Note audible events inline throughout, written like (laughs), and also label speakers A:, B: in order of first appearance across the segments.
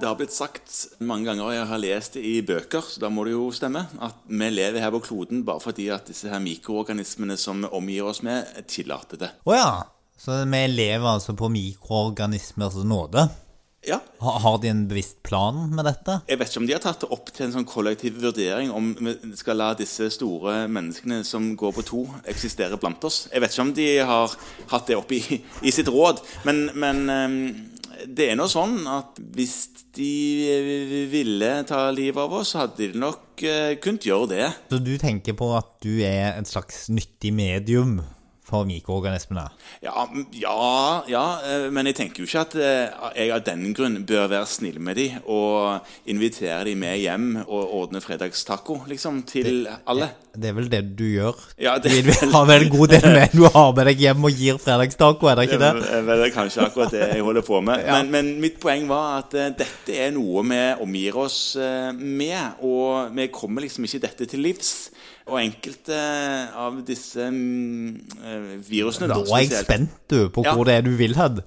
A: Det har blitt sagt mange ganger, og jeg har lest det i bøker, så da må det jo stemme, at vi lever her på kloden bare fordi at disse her mikroorganismene som omgir oss med, tillater det.
B: Å ja. Så vi lever altså på mikroorganismers nåde.
A: Ja,
B: Ha- Har de en bevisst plan med dette?
A: Jeg vet ikke om de har tatt det opp til en sånn kollektiv vurdering om vi skal la disse store menneskene som går på to, eksistere blant oss. Jeg vet ikke om de har hatt det opp i, i sitt råd. Men, men eh, det er nå sånn at hvis de ville ta livet av oss, så hadde de nok eh, kunnet gjøre det.
B: Så du tenker på at du er et slags nyttig medium for mikroorganismene?
A: Ja, m- ja, ja eh, men jeg tenker jo ikke at eh, jeg av den grunn bør være snill med de og invitere de med hjem og ordne fredagstaco, liksom, til alle.
B: Det er vel det du gjør?
A: Ja, det-
B: Du har vel en god del med du har med deg hjem og gir fredagstaco, er det ikke det?
A: Det er Eh, vel kanskje akkurat det jeg holder på
B: (laughs)
A: med. Men, men mitt poeng var at eh, dette er noe vi omgir oss eh, med, og vi kommer liksom ikke dette til livs. Og enkelte eh, av disse mm, eh, virusene da,
B: Da er jeg
A: spesielt-
B: spent du, på
A: Ja.
B: hvor det er du vil hen.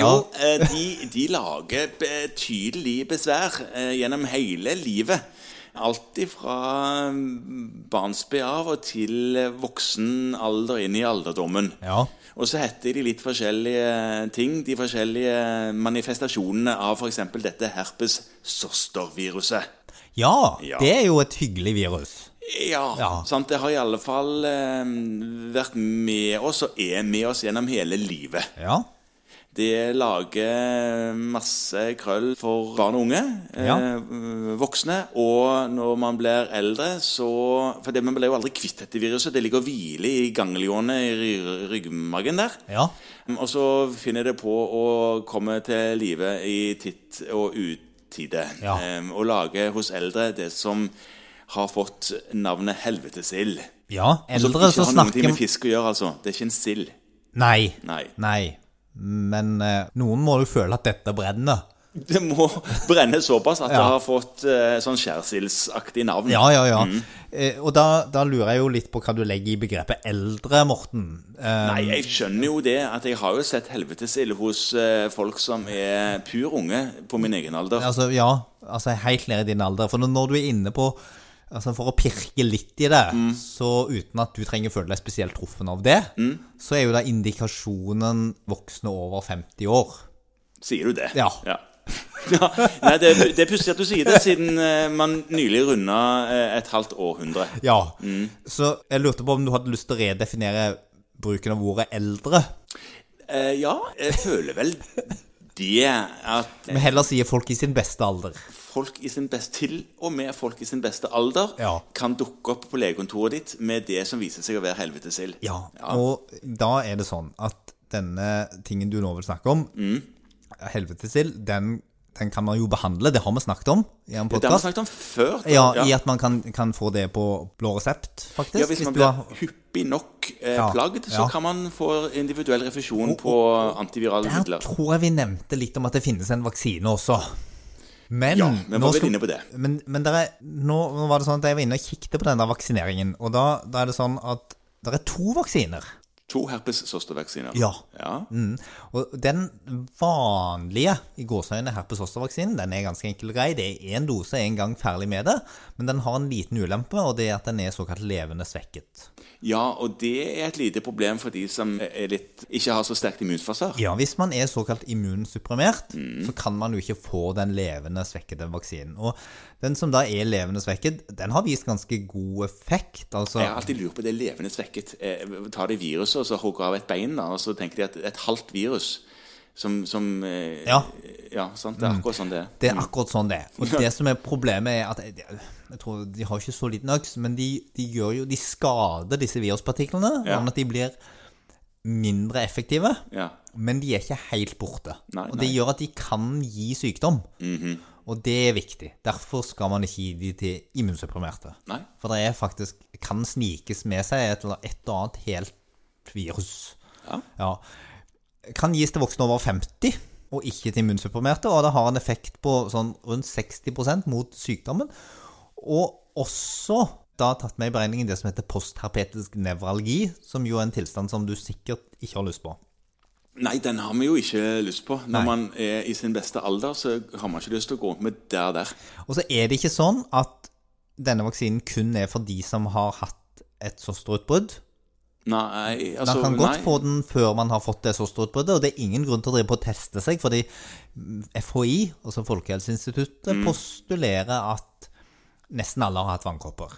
A: Jo, eh, de, de lager betydelig besvær eh, gjennom hele livet. Alt ifra mm, barnsbe av og til eh, voksen alder inn i alderdommen.
B: Ja.
A: Og så heter de litt forskjellige ting, de forskjellige manifestasjonene av f.eks. dette herpes-zosterviruset.
B: ja,
A: Ja.
B: det er jo et hyggelig virus.
A: Ja,
B: Ja.
A: Sant? Det har i alle fall eh, vært med oss og er med oss gjennom hele livet.
B: Ja.
A: Det lager masse krøll for barn og unge,
B: Ja.
A: eh, voksne. Og når man blir eldre, så For det, man blir jo aldri kvitt dette viruset. Det ligger og hviler i ganglionene i ry- ryggmargen der.
B: ja.
A: Og så finner det på å komme til live i titt og utide.
B: Ja.
A: Em, og lage hos eldre det som har fått navnet helvetesild.
B: Ja,
A: Som
B: eldre
A: Altså, ikke
B: så
A: har noen ting
B: snakker
A: med fisk å gjøre, altså. Det er ikke en sild.
B: Nei.
A: Nei.
B: Nei. Men eh, noen må jo føle at dette brenner.
A: Det må brenne såpass at det
B: Ja.
A: har fått eh, sånn skjærsildsaktig navn.
B: Ja, ja, ja. Eh, og da, da lurer jeg jo litt på hva du legger i begrepet eldre, Morten. Eh,
A: Nei, jeg skjønner jo det at jeg har jo sett helvetesild hos eh, folk som er pur unge på min egen alder.
B: altså, ja, altså helt ned i din alder. For når- når du er inne på Altså For å pirke litt i det, så uten at du trenger føle deg spesielt truffen av det, så er jo da indikasjonen voksne over 50 år.
A: Sier du det?
B: Ja.
A: Ja. (laughs) ja. Nei, det, det er pussig at du sier det, siden eh, man nylig runda eh, et halvt århundre.
B: Ja. Så jeg lurte på om du hadde lyst til å redefinere bruken av ordet eldre.
A: Eh, ja, jeg føler vel det at
B: Men heller sier folk i sin beste alder.
A: folk i sin best, til og med folk i sin beste alder
B: Ja.
A: kan dukke opp på legekontoret ditt med det som viser seg å være helvetesild.
B: Ja, og da er det sånn at denne tingen du nå vil snakke om,
A: Mm.
B: helvetesild, den, den kan man jo behandle, det har vi snakket om i en
A: Det har vi
B: podkast.
A: snakket om før. da.
B: Ja, I at man kan, kan få det på blå resept, faktisk.
A: Ja, hvis man
B: du
A: blir
B: har-
A: hyppig nok eh,
B: Ja,
A: plagd, så
B: ja.
A: kan man få individuell refusjon på antivirale
B: Der
A: midler.
B: tror jeg vi nevnte litt om at det finnes en vaksine også. Men,
A: Ja, vi var
B: nå
A: vel inne på det.
B: Men, men der er, nå, nå var det sånn at jeg var inne og kikket på den der vaksineringen, og da, da er det sånn at det er to vaksiner.
A: To herpes-søstervaksiner.
B: Ja.
A: ja.
B: Mm. Og den vanlige i gåsøgne herpes-hoster-vaksinen den er ganske enkel og grei. Det er én dose, en gang ferdig med det. Men den har en liten ulempe, og det er at den er såkalt levende svekket.
A: Ja, og det er et lite problem for de som er litt, ikke har så sterkt immunforsvar.
B: Ja, Hvis man er såkalt immunsupprimert, så kan man jo ikke få den levende svekkede vaksinen. Og den som da er levende svekket, den har vist ganske god effekt. Altså,
A: Jeg har alltid lurt på det levende svekket. Eh, tar de viruset og så hogger av et bein, da, og så tenker de at et halvt virus som, som eh,
B: Ja. Mm.
A: ja, sant? Det er akkurat sånn det er.
B: Det er akkurat sånn det er. Og det som er problemet, er at jeg, jeg tror De har ikke så liten øks, men de, de gjør jo De skader disse viruspartiklene,
A: Ja.
B: sånn at de blir mindre effektive.
A: Ja.
B: Men de er ikke helt borte.
A: Nei,
B: og det
A: nei. Mhm.
B: gjør at de kan gi sykdom. Og det er viktig. Derfor skal man ikke gi de til immunsupprimerte.
A: Nei.
B: For det er faktisk kan snikes med seg et eller et og annet helt virus.
A: Ja.
B: Kan gis til voksne over 50 og ikke til immunsupprimerte, og det har en effekt på sånn rundt 60 mot sykdommen. Og også da tatt med i beregningen det som heter postherpetisk nevralgi, som jo er en tilstand som du sikkert ikke har lyst på.
A: Nei, den har vi jo ikke lyst på. Når man er i sin beste alder, så har man ikke lyst til å gå rundt med der der.
B: Og så er det ikke sånn at denne vaksinen kun er for de som har hatt et søsterutbrudd.
A: Nei,
B: Man
A: altså
B: kan godt
A: nei.
B: få den før man har fått det søsterutbruddet, og det er ingen grunn til å drive på å teste seg, fordi FHI, altså Folkehelseinstituttet,
A: Mm.
B: postulerer at nesten alle har hatt vannkopper.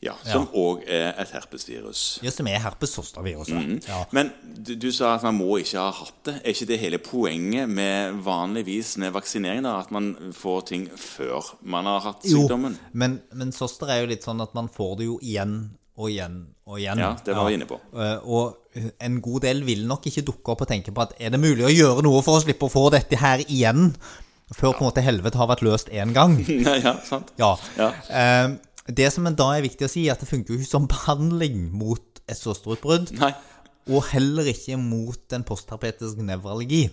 A: Ja, Som òg er et herpesvirus.
B: Just som er herpes zoster-viruset. Ja.
A: Men du, du sa at man må ikke ha hatt det. Er ikke det hele poenget med vanligvis med vaksinering? da, At man får ting før man har hatt
B: Jo,
A: sykdommen? (laughs)
B: men, men søster er jo litt sånn at man får det jo igjen og igjen og igjen.
A: Ja, det var vi inne på.
B: Eh, Og en god del vil nok ikke dukke opp og tenke på at er det mulig å gjøre noe for å slippe å få dette her igjen? Før på en måte helvete har vært løst én
A: (laughs)
B: gang.
A: Nei, ja, sant?
B: Ja.
A: Ja.
B: Eh, Det som da er viktig å si, er at det funker jo ikke som behandling mot et søsterutbrudd.
A: Nei.
B: Og heller ikke mot en postherpetisk nevralgi.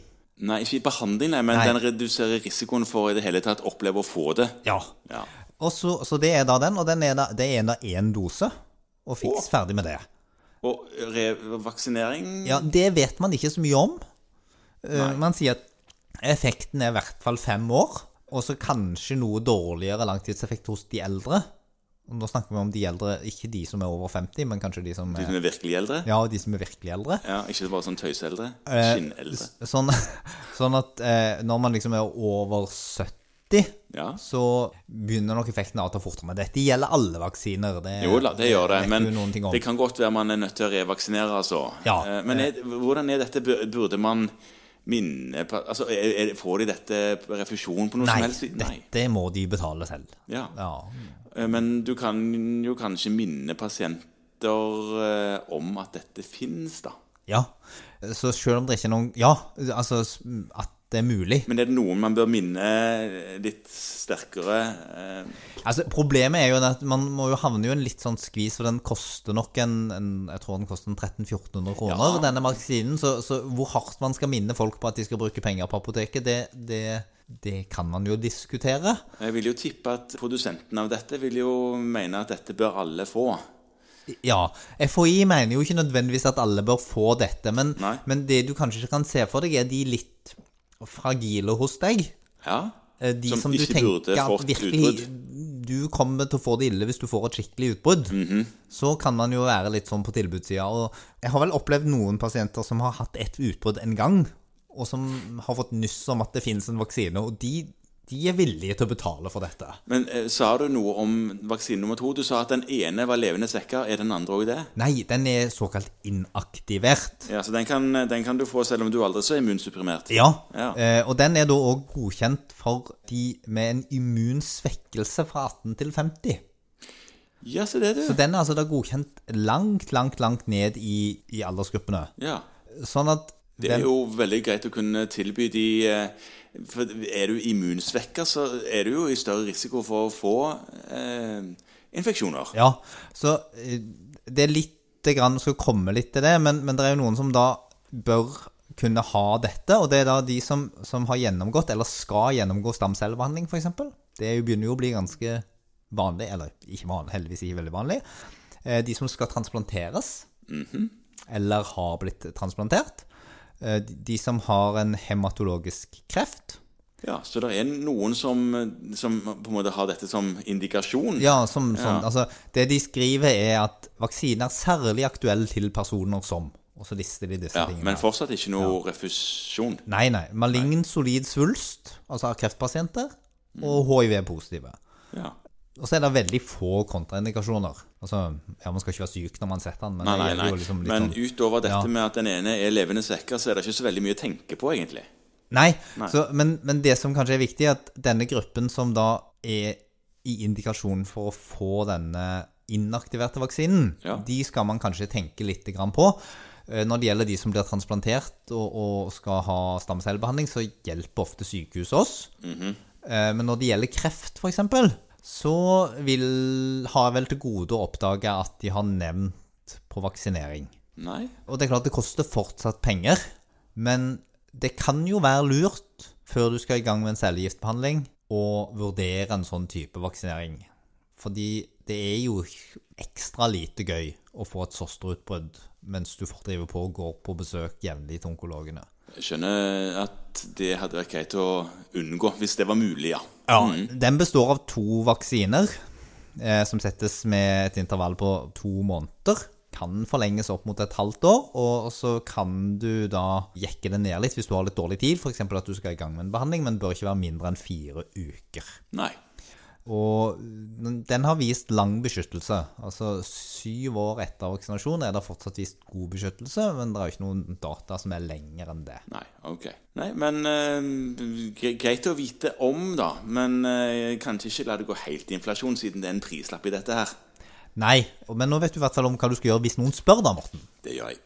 A: Nei, ikke i behandling, nei, men
B: Nei.
A: den reduserer risikoen for i det hele tatt å oppleve å få det.
B: Ja.
A: Ja.
B: Og så, så det er da den, og den er da, det er da én dose. Og fiks ferdig med det.
A: Og revaksinering
B: Ja, Det vet man ikke så mye om. Eh, Man sier at effekten er i hvert fall fem år, og så kanskje noe dårligere langtidseffekt hos de eldre. Og Nå snakker vi om de eldre, ikke de som er over 50, men kanskje de som
A: De
B: er,
A: som er virkelig eldre?
B: ja, de som er virkelig eldre.
A: Ja, Ikke bare sånn tøyseeldre.
B: Eh,
A: Skinneldre.
B: s- Sånn, (laughs) sånn at eh, når man liksom er over 70,
A: Ja.
B: så begynner nok effekten av å ta fortere. Men dette gjelder alle vaksiner. Det,
A: Jo da, det gjør det.
B: vet
A: Men
B: du noen ting om.
A: det kan godt være man er nødt til å revaksinere, altså.
B: Ja.
A: Eh, Men er, hvordan er dette? Bur- Burde man minne på altså, er, er, Får de dette refusjon på noe
B: Nei,
A: som helst? Nei.
B: dette må de betale selv.
A: Ja.
B: Ja,
A: Eh, Men du kan jo kanskje minne pasienter eh, om at dette fins, da.
B: Ja. Så selv om det ikke er noen Ja, altså s- at det er mulig.
A: Men er det noen man bør minne eh, litt sterkere? eh,
B: Altså Problemet er jo det at man må jo havne i en litt sånn skvis, for den koster nok en, en Jeg tror den koster en 1300-1400 kroner,
A: Ja.
B: denne vaksinen. Så, så hvor hardt man skal minne folk på at de skal bruke penger på apoteket, det, det, det kan man jo diskutere.
A: Jeg vil jo tippe at produsenten av dette vil jo mene at dette bør alle få.
B: Ja. FHI mener jo ikke nødvendigvis at alle bør få dette, men,
A: Nei.
B: men det du kanskje ikke kan se for deg, er de litt fragile hos deg.
A: Ja.
B: Eh, De som,
A: Som
B: du
A: ikke
B: tenker
A: burde
B: at
A: fått
B: virkelig
A: utbrudd.
B: Du kommer til å få det ille hvis du får et skikkelig utbrudd.
A: Mhm.
B: Så kan man jo være litt sånn på tilbudssida. Og jeg har vel opplevd noen pasienter som har hatt et utbrudd en gang, og som har fått nyss om at det finnes en vaksine, og de, de er villige til å betale for dette.
A: Men eh, sa du noe om vaksine nummer to? Du sa at den ene var levende svekka. Er den andre òg det?
B: Nei, den er såkalt inaktivert.
A: Ja, så den kan, den kan du få selv om du aldri er så immunsupprimert.
B: Ja,
A: Ja.
B: Eh, og den er da òg godkjent for de med en immunsvekkelse fra 18 til 50.
A: Ja, se det, du.
B: Så den er altså da godkjent langt, langt, langt ned i, i aldersgruppene.
A: Ja.
B: Sånn at
A: Det er
B: den,
A: jo veldig greit å kunne tilby de eh, For er du immunsvekka, så er du jo i større risiko for å få eh, infeksjoner.
B: Ja, så eh, det er lite grann Skal komme litt til det, men, men det er jo noen som da bør kunne ha dette, og det er da de som, som har gjennomgått, eller skal gjennomgå stamcellebehandling, f.eks. Det er jo- begynner jo å bli ganske vanlig, eller ikke vanlig, heldigvis ikke veldig vanlig. Eh, De som skal transplanteres,
A: Mhm.
B: eller har blitt transplantert. Eh, de- De som har en hematologisk kreft.
A: Ja, Så det er noen som, som på en måte har dette som indikasjon.
B: Ja, som, sånn, Altså, det de skriver er at vaksine er særlig aktuell til personer som Og så lister de disse
A: Ja,
B: tingene.
A: men fortsatt ikke noe refusjon.
B: Nei, nei. Malign solid svulst, altså av kreftpasienter,
A: Mm.
B: og hiv-positive.
A: Ja.
B: Og så er det veldig få kontraindikasjoner. Altså, ja, Man skal ikke være syk når man setter den, men
A: Nei, nei, nei.
B: det gjelder jo liksom litt
A: Men
B: sånn
A: utover dette
B: Ja.
A: med at den ene er levende svekka, så er det ikke så veldig mye å tenke på, egentlig.
B: Nei, Så, men, men det som kanskje er viktig, er at denne gruppen som da er i indikasjon for å få denne inaktiverte vaksinen,
A: Ja.
B: de skal man kanskje tenke litt grann på. Eh, Når det gjelder de som blir transplantert og, og skal ha stamcellebehandling, så hjelper ofte sykehuset oss. Eh, Men når det gjelder kreft, f.eks., så vil, har jeg vel til gode å oppdage at de har nevnt på vaksinering.
A: Nei.
B: Og det er klart det koster fortsatt penger, men det kan jo være lurt, før du skal i gang med en cellegiftbehandling, å vurdere en sånn type vaksinering. Fordi det er jo ekstra lite gøy å få et søsterutbrudd mens du fort driver på og går på besøk jevnlig til onkologene.
A: Jeg skjønner at det hadde vært greit å unngå, hvis det var mulig, ja.
B: Ja, Den består av to vaksiner eh, som settes med et intervall på to måneder. Kan forlenges opp mot et halvt år, og så kan du da jekke det ned litt hvis du har litt dårlig tid, f.eks. at du skal i gang med en behandling, men bør ikke være mindre enn fire uker.
A: Nei.
B: Og den den har vist lang beskyttelse. Altså syv år etter vaksinasjon er det fortsatt vist god beskyttelse, men det er jo ikke noen data som er lenger enn det.
A: Nei, ok. Nei, men eh, gre- greit å vite om, da. Men eh, kanskje ikke la det gå helt i inflasjon, siden det er en prislapp i dette her.
B: Nei, men nå vet du i hvert fall om hva du skal gjøre hvis noen spør da, Morten.
A: Det gjør jeg.